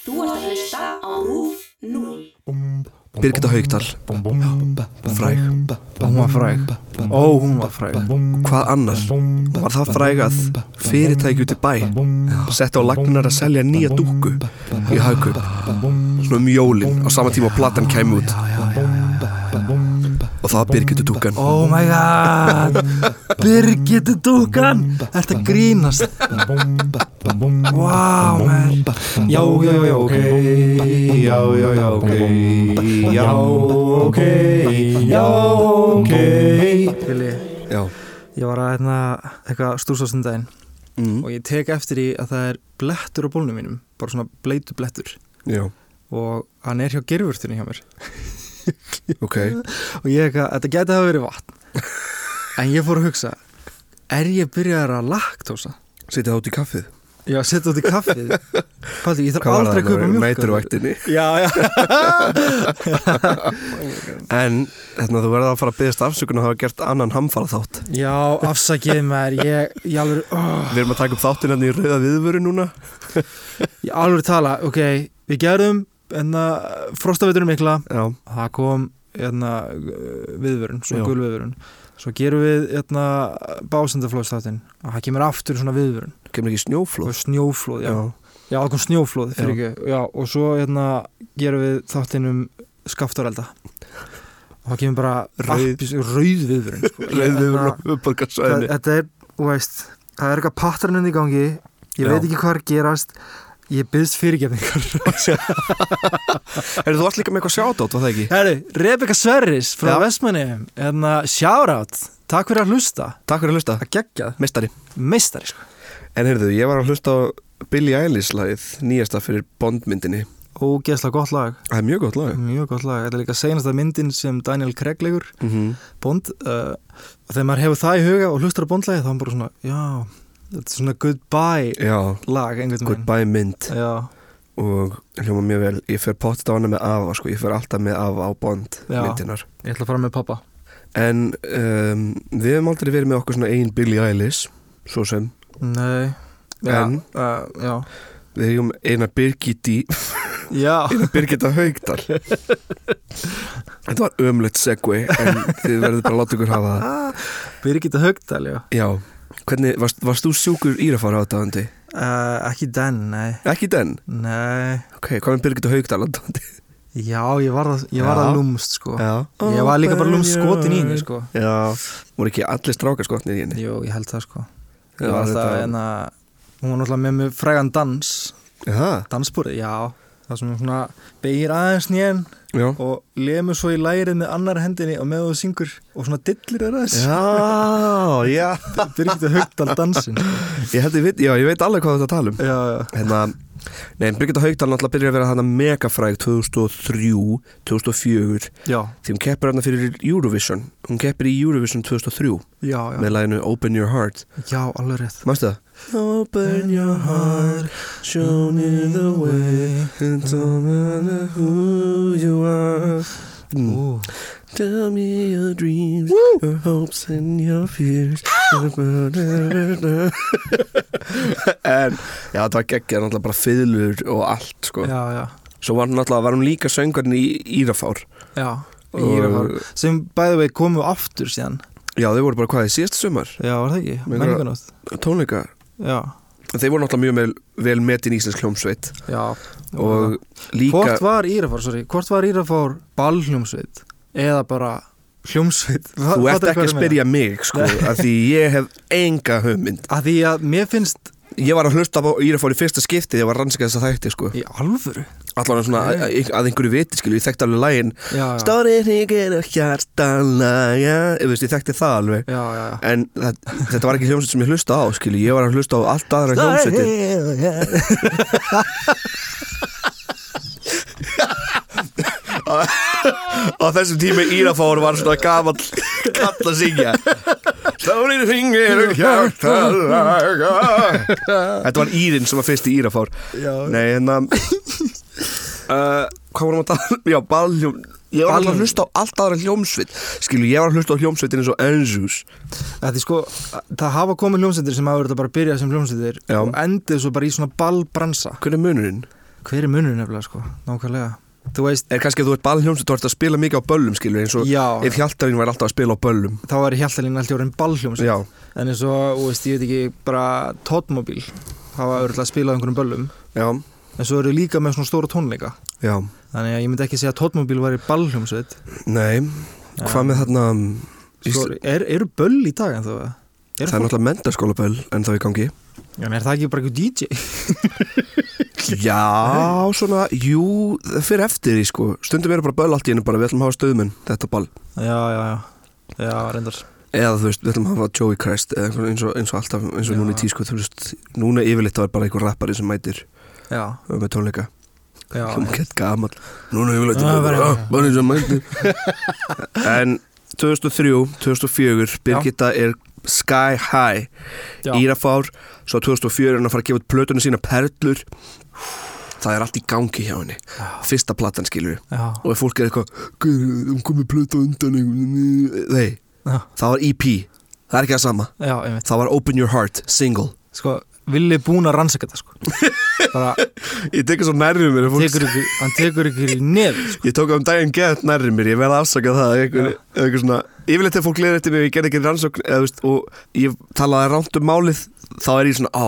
Þú ert að hlusta á RÚF 0. Birgitta Haugdal Fræg Hún var fræg Ó, hún var fræg Hvað annars? Var það frægað fyrirtæki út í bæ Sett á lagnar að selja nýja dúkku Í haugkaup Svona um jólin á sama tíma og platan kæmi út Og það var Birgitta dúkkan Oh my god Birgitu dúkan Ertu að grínast Vá, wow, man Já, já, já, ok Já, já, já, ok Já, ok Já, ok Vili, Já ég var að hérna eitthvað stúrsast um daginn mm. og ég tek eftir í að það er blettur á bólnum mínum bara svona bleitu blettur Já, og hann er hjá gerfurtunni hjá mér ok og ég eitthvað, þetta geti hafa verið vatn en ég fór að hugsa er ég byrjar að laktósa Setið það út í kaffið já, setja út í kaffið Paldi, ég þarf Hvað var aldrei að það? kaupa mjölk Nætur á ektinni já, já, En hérna, þú verður að fara að byggðast afsökun og hafa gert annan hamfara þátt já, afsakið mér ég, ég alveg, oh, Við erum að taka upp þáttinn hérna í rauða viðvöru núna ég alveg tala ok, við gerðum enna, frostavitunum mikla Já, það kom enna, viðvörun, Já. svo gul viðvörun svo gerum við enna, básendaflóðstáttin og það kemur aftur svona viðvörun kemur ekki snjóflóð og snjóflóð, já, Já, það kom snjóflóð fyrir ekki Já, og svo hérna gerum við þáttinn um skaftarelda og það kemur bara Rauð- appis, rauð viðvörun sko. Rauð viðvörun á Þetta- það- uppborgarsvæðinni Þetta er, þú veist, það er eitthvað patternin í gangi ég Já. veit ekki hvað er að gerast ég byggst fyrirgefningar Er þú alls líka með eitthvað sjátátt, var það ekki? Herri, Rebecca Sverris frá Já. Vestmanni hérna, sjárátt, takk fyrir að hlusta Takk fyrir að hlusta, að gegja, mestari meistari sko. En heyrðu, ég var að hlusta á Billie Eilish lagið nýjasta fyrir Bondmyndinni ógeðslega gott lag, Það er mjög gott lag mjög gott lag þetta er líka senasta myndin sem Daniel Craig leikur mm Bond uh, og þegar maður hefur það í huga og hlustar á Bondlægi þá er hann bara svona, já, þetta er svona goodbye Já, lag einhvern veginn goodbye mynd Já, og hljóma mjög vel, ég fer pottet á hana með afa sko, ég fer alltaf með afa á Bond Já. myndinar ég ætla að fara með pappa En um, við hefum aldrei verið með okkur svona ein Billie Eilish svo sem, Nei Já, En? uh, já. við hefum eina Birgitti já, eina Birgitta Haugdal Þetta var ömlegt segway en þið verður bara að láta ykkur hafa það Birgitta Haugdal, já Já, hvernig, varst, varst þú sjúkur írafara aðdáðandi? uh, Ekki den, nei Ekki den? Nei, Ok, hvað með Birgit og Haugdal aðdáðandi? já, ég var það, ég var Já. það lúmst, sko Já Ég var líka bara lúmst skotin í henni, sko Já, voru ekki allir strákar skotnir í henni? Jú, ég held það, sko Já, Ég var alltaf, hérna. þetta- en Hún var náttúrulega með mjög frægan dans Já, Dansbúrið, já Það sem hún svona beigir aðeins nýjan já og lemur svo í lærið með annar hendinni og með þú syngur og svona dillir þér aðeins Já, já Birgitta Haugdal dansin Ég held ég veit, já, ég veit alveg hvað þetta tala um já, já. Hérna, nei, en Birgitta Haugdal náttúrulega byrjar að vera hana megafræg 2003, 2004 já, því hún keppir hana fyrir Eurovision hún keppir í Eurovision 2003 já, já með læginu Open Your Heart já, alveg rétt Mástu það? Open your heart, show me the way It don't matter who you are Mm. Ú, Tell me your dreams, your hopes and your fears En, já þetta var geggjað náttúrulega bara fiðlur og allt sko já, já, Svo var hún náttúrulega, var hún líka söngarinn í Írafár já Og- Ég er að fara- sem bæði vegi komu aftur síðan Já þau voru bara hvað, í síðast sumar, já, var það ekki, Mig langar- menninganótt tónleika já, Þeir voru náttúrulega mjög vel, vel metin íslensk hljómsveit já Og líka hvort var Írafár, sorry, hvort var Írafár ballhljómsveit eða bara hljómsveit Þú ert ekki að spyrja mig sko að því ég hef enga hugmynd að því að mér finnst Ég var að hlusta á Írafór í fyrsta skipti þegar ég var að rannsaka þessa þætti sko í alvöru Allan svona að, að- að einhverju viti skilu, ég þekkti alveg lægin já, já, Stóri hringin og hjartalæja Ég veist, ég þekkti það alveg já, já, já. En það, þetta var ekki hljómsveit sem ég hlusta á skilu Ég var að hlusta á allt aðra hljómsveitir hljómsveitir Á þessum tíma Írafór var svona gamall kall að syngja Stóri hringin og hjartalæja Þetta var Írin sem var fyrst í Írafór Nei, en að uh, Hvað vorum að tala um? Já, balljóm Ég var alltaf að Balljón. hlusta á allt aðra hljómsveit Skilu, ég var að hlusta á hljómsveitin eins og Enzus Það er sko, það hafa komið hljómsveitir sem hafa verið að bara byrja sem hljómsveitir Já. og endið svo bara í svona ballbransa Hvernig er munurinn? hver er munur nefnilega sko, nákvæmlega þú veist, Er kannski að þú ert ballhjómsveit, þú ert að spila mikið á böllum skilur eins og Já. ef hjaltarinn væri alltaf að spila á böllum þá er hjaltalín alltaf orðin ballhjóms Já, en eins og, þú veist, ég veit ekki bara tótmóbíl, það var örgulega að spila á einhverjum böllum, já, en svo eru líka með svona stóra tónleika já þannig að ég myndi ekki segja að tótmóbíl væri ballhjómsveit Nei, hvað með þarna um, Svo Ísl... Sko, er, eru böll í dag en þá er, Það er fólk, náttúrulega mentarskóla böll en þá í gangi Já, en er það ekki bara eitthvað DJ? Já, svona, jú, fyrir eftir því sko Stundum eru bara böll allt í henni bara Við ætlum að hafa stöðmenn, þetta ball Já, já, já, já, reyndar Eða þú veist, við ætlum að hafa Joey Christ Eða einhvern- eins og, eins og alltaf, eins og núna í Já. tísku Þú veist, núna yfirleitt þá er bara einhver rappari sem mætir Já, uh, Með tónleika, já, hljóma gett gamal Núna yfirleitt Já, er bara- bara ah, Manni sem mætir En 2003, 2004 Birgitta er sky high já, Írafár Svo 2004 er hann að fara að gefa út plötunum sína Perlur Það er allt í gangi hjá henni Fyrsta platan skilur já, Og ef fólk er eitthvað "Guð, Hún komið plötu á undan einhvern." Nei, já, það var EP Það er ekki það sama já, einmitt Það var Open Your Heart, single Sko, villi búin að rannsaka þetta sko Bara, Ég tekur svo nærrið mér tekur sko. ykkur, hann tekur ykkur í nefn sko. Ég tók á um daginn gett nærrið mér Ég verði að afsaka það einhver, einhver svona, Yfirleitt þegar fólk leður eftir mér Ég gerði ekki rannsókn eða, þú veist, Og ég talaði rámt um málið Þá er ég svona, á,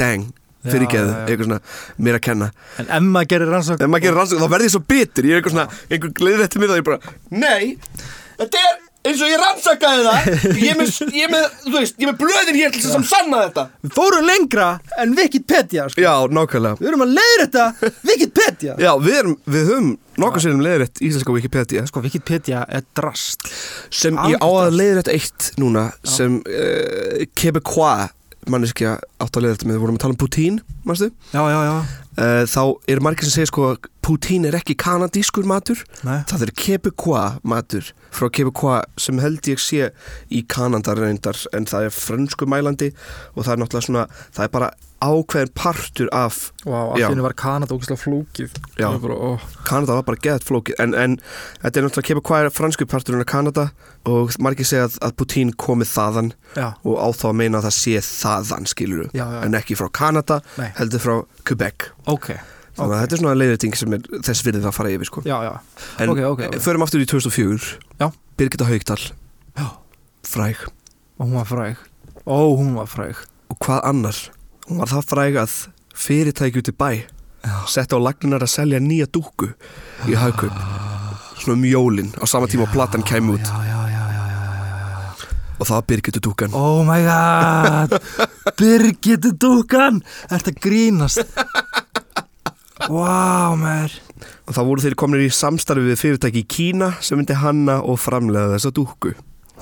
dang Já, fyrirgeðu, já, já. eitthvað svona, mér að kenna En ef maður gerir rannsaka ef maður gerir rannsókn þá verð ég svo bitur ég er eitthvað svona, einhver gleðir eftir mig þá er ég bara nei, þetta er eins og ég rannsakaði það ég er með, ég er með, þú veist, ég er með blöðin hér til þess að sanna þetta Við fórum lengra en Wikipedia sko. já, nákvæmlega Við erum að leiður þetta Wikipedia já, við, erum, við höfum nokkuð sérum leiðrétt íslenska Wikipedia Sko, Wikipedia er drast sem ég á að leiðrétt eitt núna sem uh, Quebecois manneskja átt að leiðrétt með, við vorum að tala um Putin manstu, Já, já, já uh, þá eru margir sem segja sko Putin er ekki kanadískur matur Nei. Það er Quebecois matur frá Quebecois sem held ég sé í Kanada reyndar en það er frönsku mælandi og það er náttúrulega svona, það er bara ákveðin partur af, Vá, Já. var Kanada ógæslega flókið Já. Ég bara, ó. Kanada var bara geðt flókið en, en þetta er náttúrulega Quebecois er fransku parturinn af Kanada og margir segja að, að Putin komið þaðan já, og á þá að meina að það sé þaðan skiluru Já, já. en ekki frá Kanada, Nei. heldur frá Quebec ok þannig að þetta er svona leiðiting sem er þess virðið að fara yfir sko. Já, já, en ok, ok, ok. förum aftur í 2004 Já. Birgitta Haugdal Já. fræg og hún var fræg Ó, hún var fræg og hvað annar hún var það fræg að fyrirtæki út í bæ sett á lagnar að selja nýja dúku í haugkaup svona um jólin á sama tíma og platan kæmi út Já, já, já, já, já, já, já, já. og það var Birgitta dúkan Oh my god Birgitu dúkan Ertu að grínast Vá, wow, maður og þá voru þeir komnir í samstarfi við fyrirtæki í Kína sem myndi hanna og framlega þessa dúku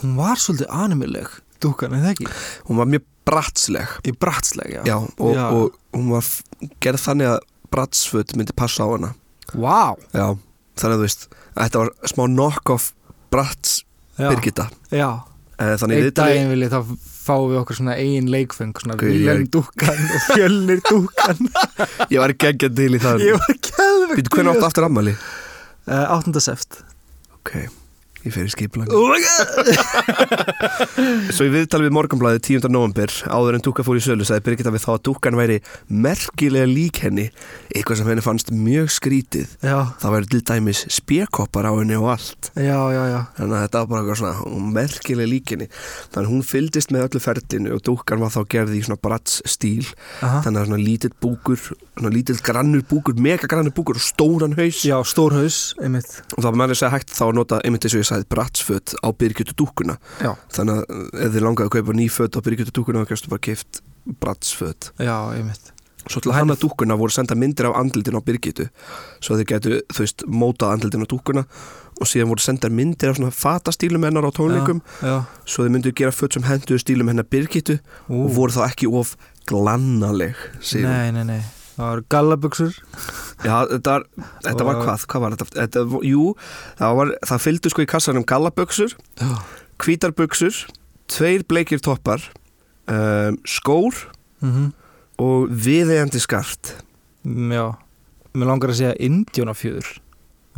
Hún var svolítið animileg Dúkan, eða ekki? hún var mjög bratsleg Í bratsleg, já Já, og, Já. og hún var f- gerð þannig að bratsföt myndi passa á hana Vá Já, þannig að þú veist að þetta var smá knock-off brats Já. Birgitta Já Eh, Þannig Einn við tali daginn vil ég þá fáum við okkur svona eigin leikfeng Svona Guð, ég er- Vilhelm dúkan og Fjölnir dúkan Ég var geggjað til í það Ég var keðvegt Býtu hvernig áttu aftur ammali? Uh, 8. seft Ok, ég fer í skiplang Oh my god Svo í viðtali við morgunblæði 10. november áður en dúka fór í sölu sagði Birgitta við þá að dúkan væri merkilega lík henni eitthvað sem henni fannst mjög skrítið Já, Það væri til dæmis spjekoppar á henni og allt já, já, já Þannig að þetta var bara eitthvað svona hún merkileg líkinni. Þannig að hún fylgdist með öllu ferlinu og dúkkan var þá gerði í svona brats stíl. Aha. Þannig að svona lítill búkur, svona lítill grannur búkur, mega grannur búkur og stóran haus. Já, stórhaus, einmitt Og það var meðlega segja hægt þá að nota, einmitt eins og ég sagði, bratsföt á byrgjötu dúkuna. Já, Þannig að uh, ef þið langaði að kaupa ný föt á byrgjötu dúkuna þá gæstu bara keift bratsföt. já, einmitt Svo til að hanna dúkuna voru senda myndir af andlitin á byrgjötu svo að þið gætu, þú veist, mótað andlitin á dúkuna og síðan voru sendar myndir af svona fatastílum hennar á tónleikum Já, svo þið myndu gera föt sem henduðu stílum hennar Birgittu Ú. og voru þá ekki of glannaleg já. segir hún. Nei, nei, nei Það eru gallabuxur Já, þetta var, þetta var Og- hvað, hvað var þetta? þetta var- jú, það, var, það fylgdu sko í kassanum gallaböksur, Já. hvítarbuksur tveir bleikir toppar um, skór mm og viðeigandi skart Já Mér langar að segja indjónafjöður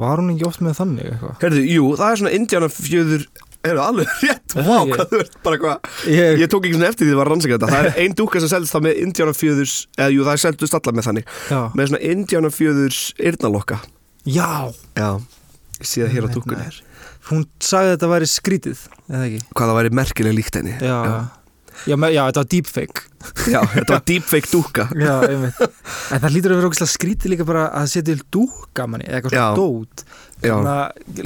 Var hún ekki oft með þannig eitthvað? Herðu, jú, það er svona indjána fjöður eru alveg rétt Er það Vá, ekki? hvað þú ert bara hvað Ég, Ég tók ekki svona eftir því að var að rannsaka þetta Það er ein dúka sem seldist það með indjánafjöðurs Eða jú, það er seldust alla með þannig já, Með svona indjánafjöðurs yrnalokka já, Já, ég sé það hér á Hérna dúkunni er. hún sagði að þetta væri skrítið, eða ekki? Hvað það væri merkileg líkt henni Já, já, já, me- já þetta var deepfake. Já, þetta var deepfake dúka Já, einmitt. en það lítur að vera ógæslega skrítið líka bara að setja til dúka manni, eða eitthvað Já. svona dót. Já. Þannig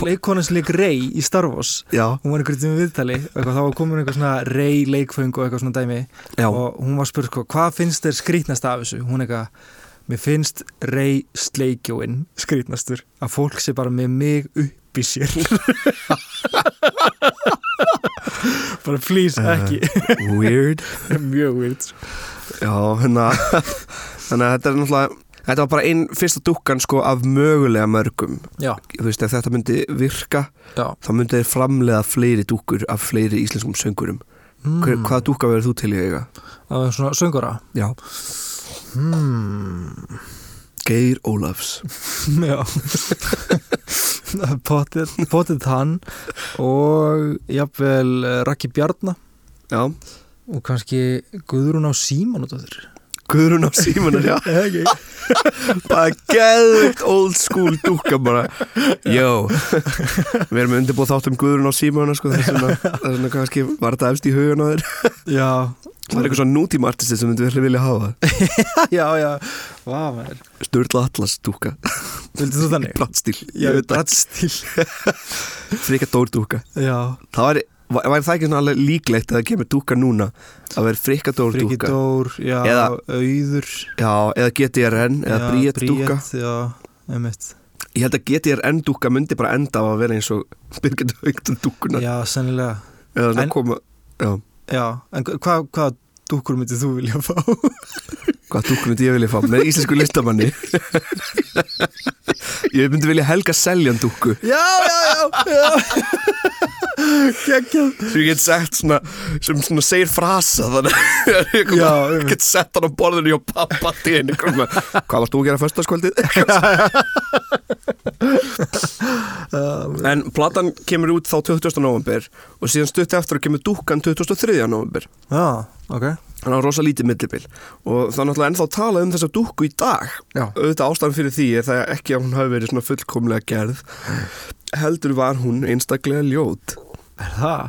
að leikkonan sem leik Rey í Star Wars, Já, hún var einhvern tíma viðtali, og eitthvað, þá var komin einhver svona Rey leikföng og eitthvað svona dæmi. já, og hún var spurt sko, hvað finnst þér skrítnast af þessu hún eitthvað, mér finnst rey sleikjóin skrítnastur að fólk sé bara með mig upp í sér bara flýs ekki weird mjög vilt Já, hérna Þannig að þetta er náttúrulega Þetta var bara einn fyrsta dúkkan sko af mögulega mörgum já, Þú veist, ef þetta myndi virka já þá myndi þeir framlega fleiri dúkkur af fleiri íslenskum söngurum Hver, hvaða dúkka verður þú til í eiga? það var svona söngura Já hmm. Geir Ólafs já potið, potið hann og jafnvel eh, Raggi Bjarnar Já og kannski Guðrún á síman út af þér Guðrún á símanar, já ekki Bara geðvikt old school dúkka bara Jó Við erum undirbúð þátt um Guðrún á símanar sko, Það er svona, það er svona kannski var þetta efst í hugan á þér já, Það er eitthvað svona nútíma artisti sem myndi vel vilja hafa já, já, vá maður Sturla Atlas dúkka Vildið þú þannig? Plattstíl Já, Ég veit það brattstíl Frika Dór dúkka Já, Það væri, væri það ekki svona alveg líklegt að það kemur dúkka núna að vera Frikka Dór Friki dúkka Dór, já, Eða- Auður Já, eða GTRN eða Bríett dúkka Já, emitt Ég held að GTRN dúkka myndi bara enda á að vera eins og Birgit Haugdun dúkkuna Já, sennilega eða svona en- koma Já, Já, en hva- hvað hva dúkur myndið þú vilja fá? hvað dúkku myndi ég vilja fá með íslensku listamanni Ég myndi vilja helga seljan dúkku já, já, já, já Gekk sem ég get sett svona sem svona segir frasa þannig að ég Já, kom einmitt. get sett hann á borðinu hjá pappa þín kom, Hvað varst þú að gera föstaskvöldið? en platan kemur út þá 20. november og síðan stutti eftir að kemur dúkkan 23. november Já, ok Þannig að rosa lítið millibil og það er náttúrulega ennþá talað um þessa dúkku í dag Já, auðvitað ástæðan fyrir því er það ekki að hún hafi verið svona fullkomlega gerð heldur var hún einstaklega ljót er það?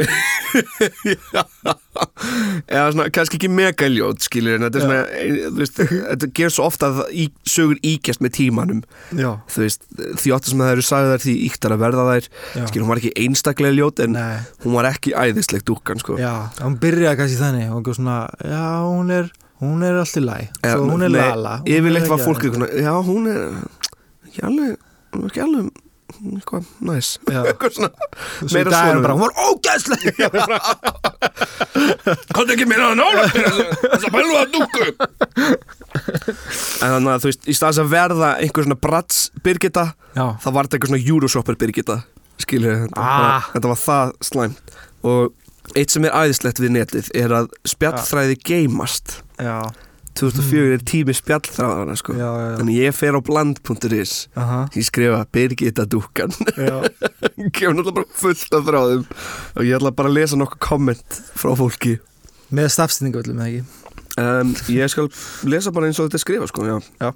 eða svona kannski ekki mega ljót skilur en þetta er svona ein- þú veist, þetta gerir svo ofta að það í, sögur íkjast með tímanum Já, þú veist því ofta sem það eru sagðar því íktar að verða þær já skilur hún var ekki einstaklega ljót en Nei, hún var ekki æðisleg dúkkan sko já, hún byrjaði kannski þannig Hún var svona, já, hún er Hún er allt í læ, Eða, svo hún er nei, lala Hún er yfirleitt var ekki fólk eitthvað aðeins. svona, já hún er ekki alveg hún er ekki alveg hún er eitthvað næs Já. eitthvað svona Svo í meira dag er svona bara, hún var ógæðslega Hvað ekki meira að nála Þess að bælu að dúku En þannig að þú veist Í staðis að verða einhver svona Bratz Birgitta Já, þá var þetta eitthvað svona Euroshopper Birgitta Skilur þetta Ah. Þetta var það slæmt Og eitt sem er æðislegt við netið Er að spjallþræði geymast já 2004 er tími spjallþræðana sko Mm. Já, já, já. Þannig ég fer á bland.is Aha, Ég skrifa Birgitta dúkan já. Kemur náttúrulega bara fullt af þráðum Og ég ætla bara að lesa nokkuð komment Frá fólki Með stafstingu öllum eða ekki Um, ég skal lesa bara eins og þetta er skrifa sko, já. Já.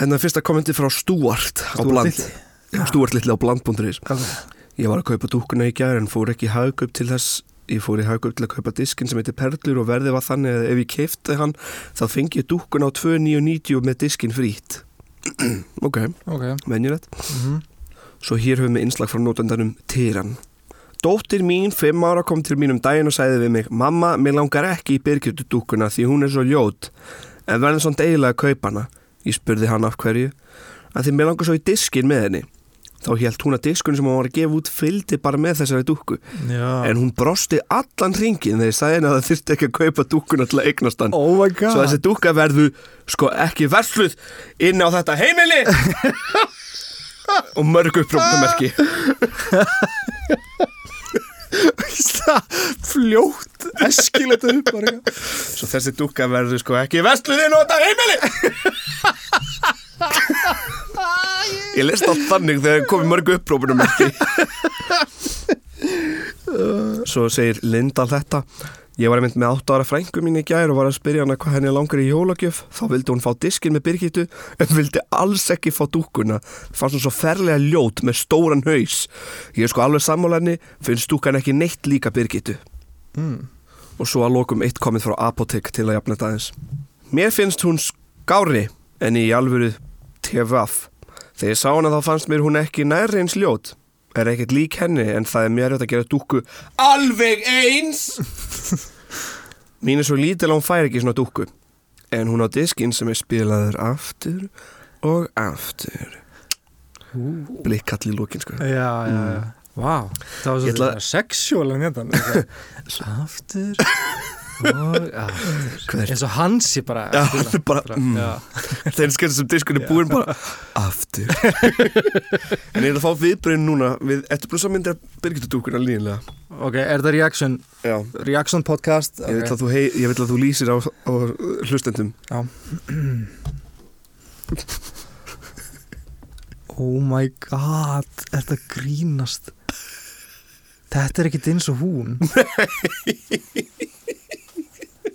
Hérna er fyrsta kommenti frá Stuart á Stuart Bland litli? Já, Stuart litli á bland.is Alveg. Ég var að kaupa dúkkuna í gær en fór ekki í hagkaup til þess Ég fór í hagkaup til að kaupa diskinn sem heitir Perlur og verðið var þannig að ef ég keifti hann þá fengi ég dúkkuna á 2.990 með diskinn frýtt Ok, Ok venjulegt mhm. Svo hér höfum við innslag frá nótendanum Týran. Dóttir mín, fimm ára, kom til mín um daginn og sagði við mig Mamma, mér langar ekki í byrgjötudúkuna því hún er svo ljót en verður svona deilega að kaupa hana. Ég spurði hann af hverju að því mér langar svo í diskin með henni. Þá hélt hún að diskun sem hún var að gefa út fylgdi bara með þessari dúkku Já en hún brosti allan ringin þegar ég sagði henni að það þurfti ekki að kaupa dúkuna til að eignast hann. Oh my god Svo þessi dúkka verður sko ekki versluð inn á þetta heimili Og mörg upprópumerki fljótt Eskilegt upp bara eitthvað. Svo þessi dúkka verður sko ekki versluð inn á þetta heimili Ég lest allt þannig þegar komið mörg upprópumerki svo segir Linda þetta Ég var einmitt með 8 ára frængu mín í gær og var að spyrja hana hvað henni langar í jólagjöf þá vildi hún fá diskin með Birgittu en vildi alls ekki fá dúkuna fannst hún svo ferlega ljót með stóran haus Ég er sko alveg sammála henni finnst dúkan ekki neitt líka Birgittu Mm. og svo að lokum eitt komið frá Apotek til að jafna þetta aðeins. Mér finnst hún skári en í alvöru TVF. Þegar ég sá hana þá fannst mér hún ekki nær eins ljót. Er ekkert lík henni en það er mjög rétt að gera dúkku alveg eins. Mín er svo lítil að hún fær ekki svona dúkku. En hún á diskinn sem er spilaður aftur og aftur. Blikkall í lókin sko. Já, já, já Vá, það var Ég ætla- svolítið sexuál en þetta Aftur og aftur Hver- eins og hans ég bara Já, spila. hann er bara, mm. já. Þeir skemmt sem diskunni búin bara Aftur En ég er að fá viðbröðin núna Við eftir blúsa myndir að Birgitta dúkuna líðinlega ok, er þetta reaction, Já reaction podcast Ég vil okay. að þú, hei, ég vil að þú lýsir á, á hlustendum oh my god er þetta grínast þetta er ekkit eins og hún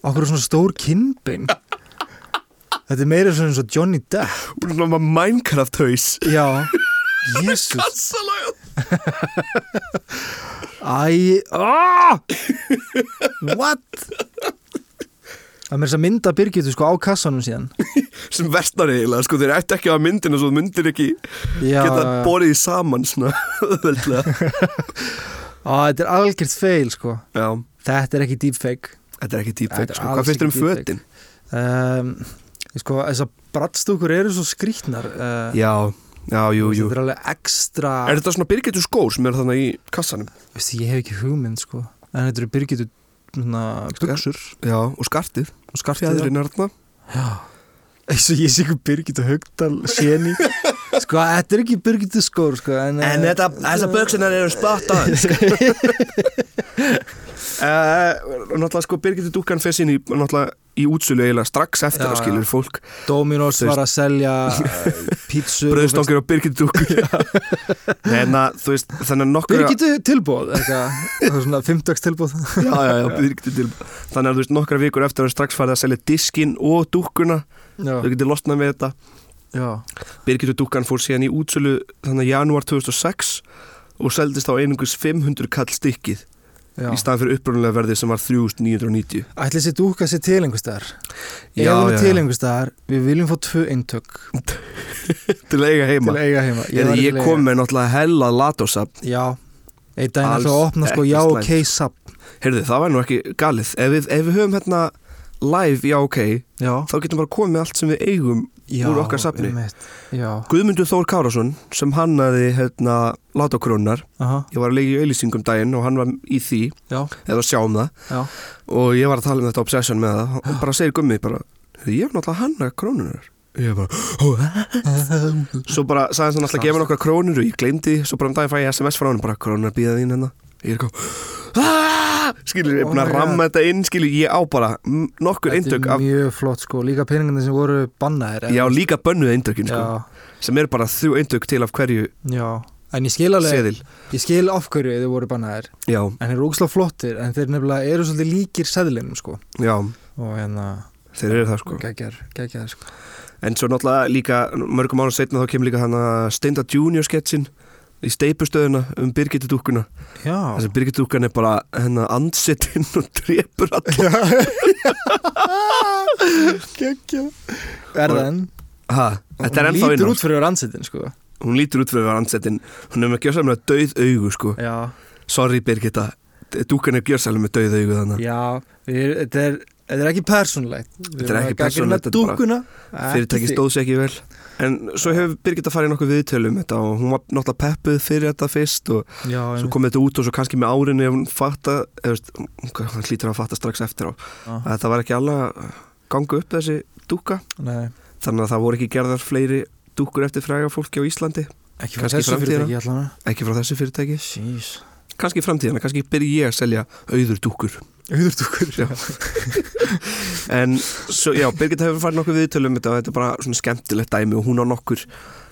okkur er svona stór kinnbein þetta er meira svona eins og Johnny Depp Hún er svona Minecraft haus já, jésus Salega Æ, aaaah What? Það er mér þess að mynda Birgitu sko á kassanum síðan Sem versnar eiginlega sko Þeir ætti ekki að hafa myndina Svo þú myndir ekki Já, geta já, já. borið því saman Svona auðveldlega. Á, þetta er algjört fail sko Já Þetta er ekki deepfake Þetta er ekki Þetta er deepfake sko. alls Hvað finnst þér um ekki deepfake. fötin? um, Sko, þessar brattstúkur eru svo skrýtnar uh, Já Já, jú, jú Þetta er alveg ekstra Er þetta svona Birgitta skór sem eru þannig í kassanum? Veistu, ég hef ekki hugmynd sko En þetta eru sko, Birgitu Bugsur Já, og skartið og skartið Fjæðurinn er þarna Eins og ég sé ekki Birgitu Haugdal séni Sko, þetta er ekki Birgitu skór sko En, eh, þessar buksunar eru spot on eh, Náttúrulega sko Birgitur Dúkan fyrir sinni náttúrulega í útsölu eiginlega strax eftir Já, að skilur fólk Dominos Þú veist- var að selja eh, pítsu bröðstangir á Birgitur Dúkan en að þú veist þannig að nokkur Birgitu tilbúð eitthvað, eitthvað svona fimmdags tilbúð já, já, já, Birgitur til þannig að þú veist nokkra vikur eftir að strax farið að selja diskin og dúkkuna já, þau getur losnað við þetta já. Birgitur Dúkan fór síðan í útsölu þannig að janúar 2006 og seldist á einungus 500 kall stykkið já. í staðan fyrir upprunalega verði sem var 3990 ætli þessi dúka sér til einhver staðar ef Já, já, hún er já. til einhver staðar við viljum fá tvö eintök til að eiga til heima að eiga heima Ég, væri ég til að kom með náttúrulega hella latósafn eiga- já, einn daginn Alls ætla að opna sko ekki já slæmt. ok sap Heyrðu, það var nú ekki galið Ef við, ef við höfum hérna live, já ok já, Þá getum bara komið með allt sem við eigum já Úr okkar safni. einmitt. já, Guðmundur Þór Kárásson sem hannaði hérna latókrónar aha, Ég var að leika í auðlýsingum daginn og hann var í því já, Eða að sjá um það já Og ég var að tala um þetta obsession með það Og bara segir Gummi bara "Heyrðu, Ég var náttúrulega að hanna krónunar Ég bara Svo bara sagði hann alltaf gefa nokkar krónur og ég gleymdi því Svo bara um daginn fæ ég SMS frá hann bara krónunar býða þín hérna Ég er ekki Skilur, ég er búin Oh að my ramma þetta inn Skilur, ég á bara mm, nokkur þetta eintök er af mjög flott sko líka peningarnir sem voru bannaðir Já, líka bönnuð eindökin sko, já, sem eru bara þrjú eindök til af hverju já en ég skil alveg seðil ég skil af hverju þau voru bannaðir Já, en þeir eru ógislega flottir en þeir nefnilega eru svolítið líkir seðlinum sko já, og hérna þeir eru það sko geggjær, geggjær sko En svo náttúrulega líka mörgum ára setna þá kemur líka hann að Steinda Junior sketsin í steipustöðuna um Birgitta dúkkuna já, Þessi Birgitta dúkkan er bara hennar andsettinn og drepur allar geggjær er það enn ha, Þetta er ennþá hún lítur innan út fyrir ansettin sko Hún lítur út fyrir að vera andsettinn Hún er með gjörsamlega dauð augu sko já, Sorry Birgitta, dúkkan er gjörsamlega með dauð augu þannig já við- þetta er, þetta er ekki persónlegt Þetta er ekki persónulegt, þetta er bara- dúkuna fyrirtæki stóð sér ekki vel en svo hefur Birgitta farið í nokkuð viðtölum þetta og hún var náttúrulega peppuð fyrir þetta fyrst og já, svo einmitt. kom þetta út og svo kannski með árinu ef hún fatta, eða veist, hún- hún hlýtur að fatta strax eftir á Já. að það var ekki alveg að ganga upp þessi dúka Nei, þannig að það voru ekki gerðar fleiri dúkur eftir fræga fólki á Íslandi Kannski ekki fyrir þessu framtíðina. fyrirtæki allan ekki frá þessu fyrirtæki jeez kannski í framtíðina, kannski byrja ég að selja auður dúkur auður dúkur já, um en svo, já, Birgitta hefur farið nokkuð viðtölum þetta og þetta er bara svona skemmtilegt dæmi og hún á nokkur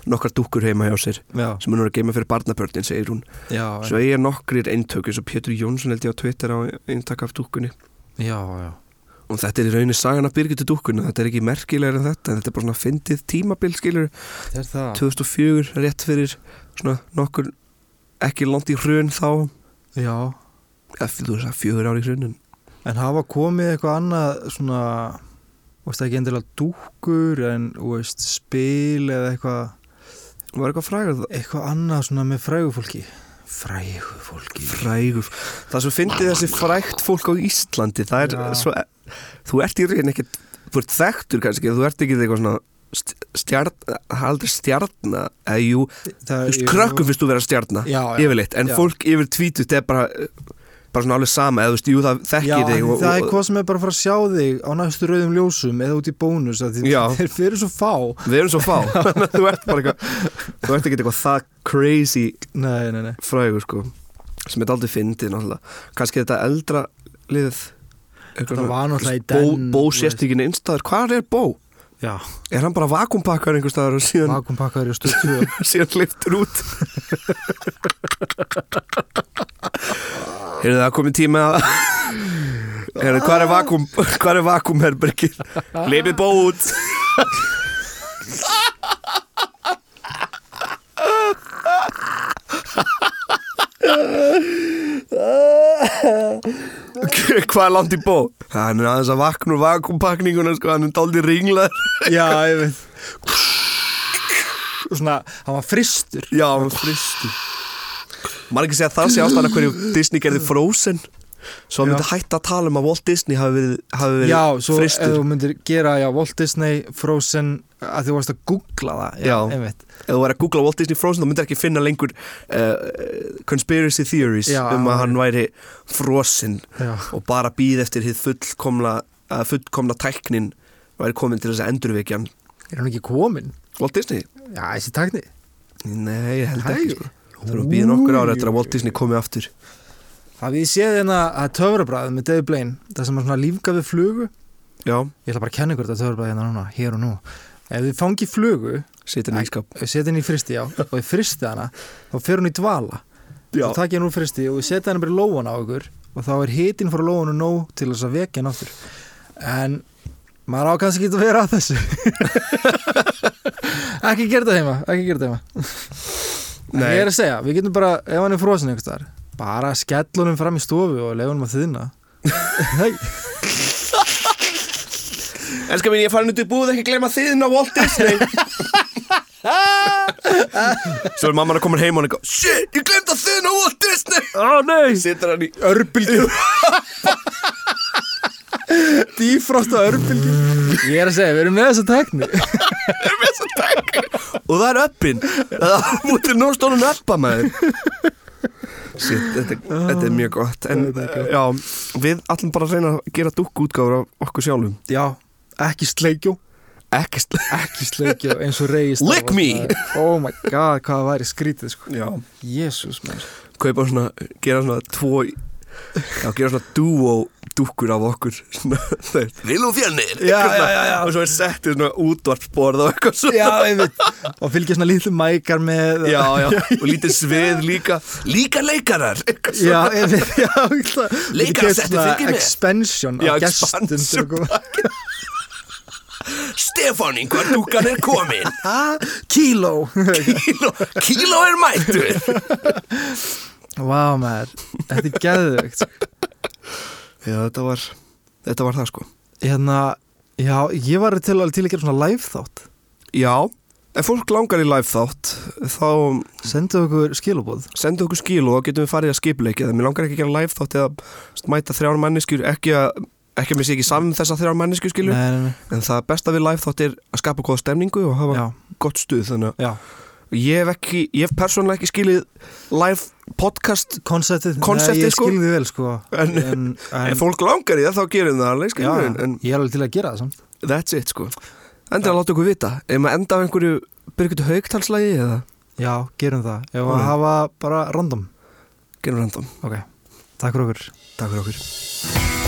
nokkar dúkkur heima hjá sér já, sem hún er að geima fyrir barnabörnin, segir hún já, Svo eiga nokkrir eintöku eins og Pétur Jónsson held ég á Twitter á eintak af dúkkunni já, já. og þetta er í rauninni sagan af Birgitu dúkkuna þetta er ekki merkilegur en þetta en þetta er bara svona fyndið tímabil skilur Það er það 2004 rétt fyrir svona nokkur ekki langt í hrun þá Já, eða þú veist að fjögur ári í hrunun en hafa komið eitthvað annað svona, þú veist ekki endilega dúkur en þú veist, spil eða eitthvað var eitthvað frægur það eitthvað annað svona með frægu fólki frægu fólki frægur það sem fyndið þessi frægt fólk á Íslandi það er Já. svo e, þú ert í rauninni ekkert þú ert þekktur kannski þú ert ekki eitthvað svona st- stjarn það er aldrei stjarn eða jú Það Þú veist, krökkum finnst þú vera stjarnar Já, já. yfirleitt, en Já. fólk yfir tvítut er bara, bara svona alveg sama eða þú veist, jú það Já, þekkir þig en og, það er og, hvað sem er bara að fara að sjá þig á næstu rauðum ljósum eða út í bónus að þið, Já. þeir fyrir svo fá við erum svo fá Þannig að þú ert bara eitthvað þú ert ekki eitthvað það crazy Nei, nei, nei frægur sko sem er aldrei fyndið náttúrulega kannski þetta eldra lið Þetta var náttúrulega í bó, den, bó þú sést ekki neinstaðar, hvað er bó? Já, er hann bara vakumpakkar einhver staðar og síðan, vakumpakkaður í stuttu síðan liftur út Heyrðu það komið tíma að Heyrðu, hvað er vakum hvað er vakumherbergir Leipið bó út Hvað er langt í bó? Hann er aðeins að vakna úr vakumpakninguna sko, hann er dálítið ringlaður Já, ég veit Og Svona, hann var fristur Já, hann fristi Margir segja að það sé ástæðan að hverju Disney gerði Frozen Svo hann Já. myndi hætta að tala um að Walt Disney hafi verið, hafi verið Já, svo eh, fristur ef þú myndir gera já, Walt Disney, Frozen að þú varst að googla það Já. einmitt. Ef þú væri að googla Walt Disney Frozen þá myndir ekki finna lengur uh, conspiracy theories Já, um já. að hann væri frosin Já. og bara býð eftir hið fullkomla, uh, fullkomna tæknin væri komin til þess að endurvekja hann Er hann ekki komin? Walt Disney? Já, þessi takni Nei, ég held Hæ? ekki sko. Það að býða nokkur ára eftir að Walt Disney komi aftur Það við séð hérna að töfrabræðið með David Blaine það sem er svona lífga við flugu Já, Ég ætla bara að kenna ykkur þetta töfrabræðið hérna núna, hér og nú Ef þið fangir flugu, sitin í skap ef setja henni í fristi já og þið fristið hana, þá fer hún í dvala Já, Svo takk ég nú fristi og við setja hann bara í lóan á ykkur og þá er hitin frá lóanu nóg til þess að vekja hann aftur en maður á kannski ekki að vera að þessu ekki gera þetta heima ekki gera þetta heima en Nei. ég er að segja, við getum bara, ef hann er frosin einhvers þar, bara skellunum fram í stofu og leifunum að þýðna Elskar mín, ég er farin út í búð, ekki gleyma þiðin á Walt Disney Svo er mamman að koma heim og hann eitthvað Shit, ég glemta þiðin á Walt Disney Ó oh, nei, Sittar hann í örbylgju dýfrosta örbylgi Ég er að segja, við erum með þessa tekni Og það er öppin Það er mútið nóstónun öppa maður Shit, þetta, Ah. þetta er mjög gott En já, við ætlum bara að reyna að gera dúkku útgáfur af okkur sjálfum Já, ekki sleikjó Ekki sl- ekki sleikjó eins og reyist Lick me. Oh my god, hvað það væri skrítið sko Já Jésús mér Kaupa svona, gera svona tvo Já, gera svona duo dúkkur af okkur Svona, þeir Vil og fjörnir Já, já, já, já. og svo er settið svona útvarpsborð og eitthvað svona Já, einmitt Og fylgja svona lítið mækar með já, já, og lítið svið líka líka leikarar eitthvað Já, svona. einmitt Já, það Leikar settu þykir með. Expansion Já, af gestum sko. til expansion. að koma. Stefán einhver dúkan er komin Ha? Kíló kíló, kíló er mættur Vá maður, þetta er geðvögt já, þetta var þetta var það sko Hérna, já, ég var til, til að gera svona live þátt já, ef fólk langar í live þátt þá Sendu okkur skilabóð sendu okkur skíl og þá getum við farið að skipleikja það mér langar ekki að gera live þátt eða st- mæta þrjár manneskjur ekki að ekki að mér sé ekki saman þessar þrjár manneskjur Nei, skilur nei, en það besta við live þátt er að skapa góða stemningu og nei hafa Já, gott stuð þannig að já Ég hef ekki, ég hef persónulega ekki skilið live podcast Konceptið Konceptið, Nei, Ég sko. skilði vel sko En- En en fólk langar í það þá gerum við það alveg Já, skilur en, en ég er alveg til að gera það samt that's it sko Endur að láta okkur vita Ef maður enda á einhverju Birgitu Haugtalslægi eða Já, gerum það Ég var Alveg. að hafa bara random Gerum random Ok, takk fyrir okkur Takk fyrir okkur